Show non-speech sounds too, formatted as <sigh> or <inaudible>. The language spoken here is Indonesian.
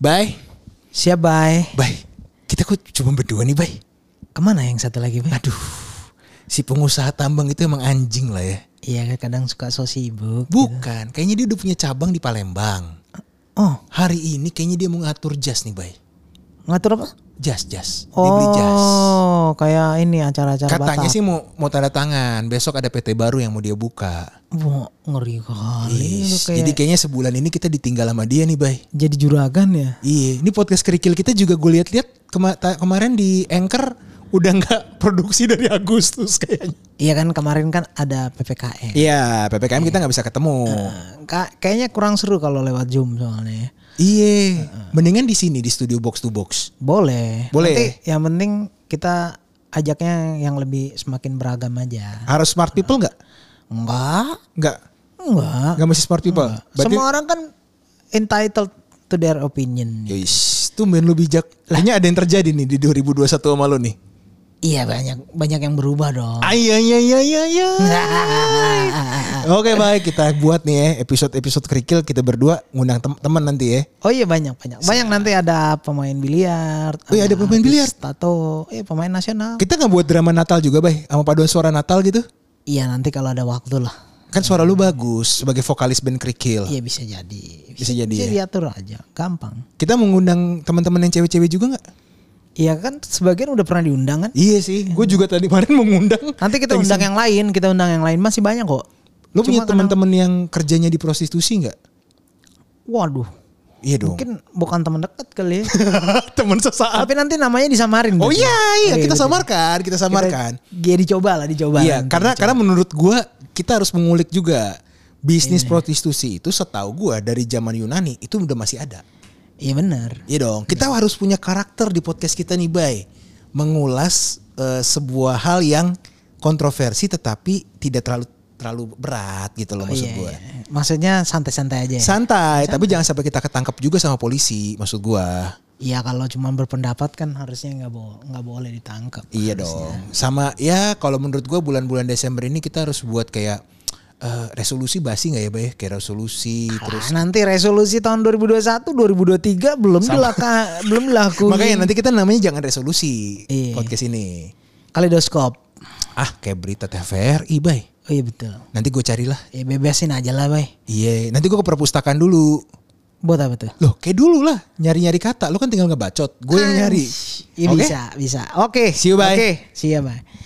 Bye. Siap, bye. Bye. Kita kok cuma berdua nih, Bye. Kemana yang satu lagi, bye? Aduh. Si pengusaha tambang itu emang anjing lah ya. Iya, kadang suka gitu. so sibuk. Bukan, kayaknya dia udah punya cabang di Palembang. Oh, Hari ini kayaknya dia mau ngatur jas nih, Bay. ngatur apa? Jas, jas. Dia beli jas. Oh, kayak ini acara-acara Katanya Batak. sih mau mau tanda tangan. Besok ada PT baru yang mau dia buka. Wah, ngeri Oh, kali. lu Is, kayak- Jadi kayaknya sebulan ini kita ditinggal sama dia nih, Bay. jadi juragan ya? Iya, ini podcast kerikil kita juga gue lihat-lihat kema- ta- kemarin di Anchor udah nggak <laughs> produksi dari Agustus kayaknya. Iya kan kemarin kan ada PPKM. Iya, PPKM kita nggak bisa ketemu. Ka- kayaknya kurang seru kalau lewat Zoom soalnya. Iya, mendingan di sini di studio box to box. Boleh. Boleh. Nanti yang penting kita ajaknya yang lebih semakin beragam aja. Harus smart people nggak? Enggak. Nggak, Enggak. nggak mesti smart people. Berarti, Semua orang kan entitled to their opinion. Yois, tuh main lu bijak. Kayaknya ada yang terjadi nih di 2021 sama lu nih. Iya banyak banyak yang berubah dong. Ay, ay, ay, ay, ay, Nah. ay. Oke baik kita buat nih ya episode-episode kerikil kita berdua ngundang tem- teman nanti ya. Oh iya banyak banyak. Banyak nanti ada pemain biliar. Oh iya, ada pemain artis biliar. Tato, iya pemain nasional. Kita nggak buat drama Natal juga, Bay, sama paduan suara Natal gitu. Iya nanti kalau ada waktu lah. Kan suara lu bagus sebagai vokalis band Kerikil. Iya bisa jadi. Bisa jadi Bisa ya. diatur aja, gampang. Kita mengundang teman-teman yang cewek-cewek juga nggak? Iya kan sebagian udah pernah diundang kan? Iya sih, gue juga tadi kemarin mengundang. Nanti kita undang yang lain, kita undang yang lain masih banyak kok. Lu punya Cuma kadang- teman-teman yang kerjanya di prostitusi nggak? Waduh, Iya dong. mungkin bukan teman dekat kali. ya. <laughs> teman sesaat. Tapi nanti namanya disamarin. Oh berarti. iya, iya Oke, kita gitu. samarkan, kita Kita- samarkan. Iya dicoba lah, dicoba. Iya, nanti, karena dicoba. karena menurut gua kita harus mengulik juga bisnis prostitusi itu setahu gua dari zaman Yunani itu udah masih ada. Iya benar. Iya dong. Kita harus punya karakter di podcast kita nih, Bay. Mengulas eh, sebuah hal yang kontroversi tetapi tidak terlalu terlalu berat gitu loh maksud Iya, gua. iya. Maksudnya santai-santai aja. ya? Santai, tapi jangan sampai kita ketangkep juga sama polisi maksud gua. Iya kalau cuma berpendapat kan harusnya nggak boleh nggak boleh ditangkap. Iya dong. Sama ya kalau menurut gua bulan-bulan Desember ini kita harus buat kayak eh, resolusi basi nggak ya, Bay? Kayak resolusi terus Terus Nah, nanti resolusi tahun 2021 2023 belum dilaka <laughs> belum dilakuin. Makanya nanti kita namanya jangan resolusi Iya. podcast ini. kaleidoskop. Ah, kayak berita TVRI, Bay. Oh iya betul. Nanti gue carilah. Ya bebasin aja lah, Bay. Iya, nanti gue ke perpustakaan dulu. Buat apa tuh? Loh, kayak dulu lah. Nyari-nyari kata. Lu kan tinggal ngebacot. Gue yang nyari. Iya Oke? bisa, bisa. Oke. See you, Bay. Oke, see ya, you, Bay.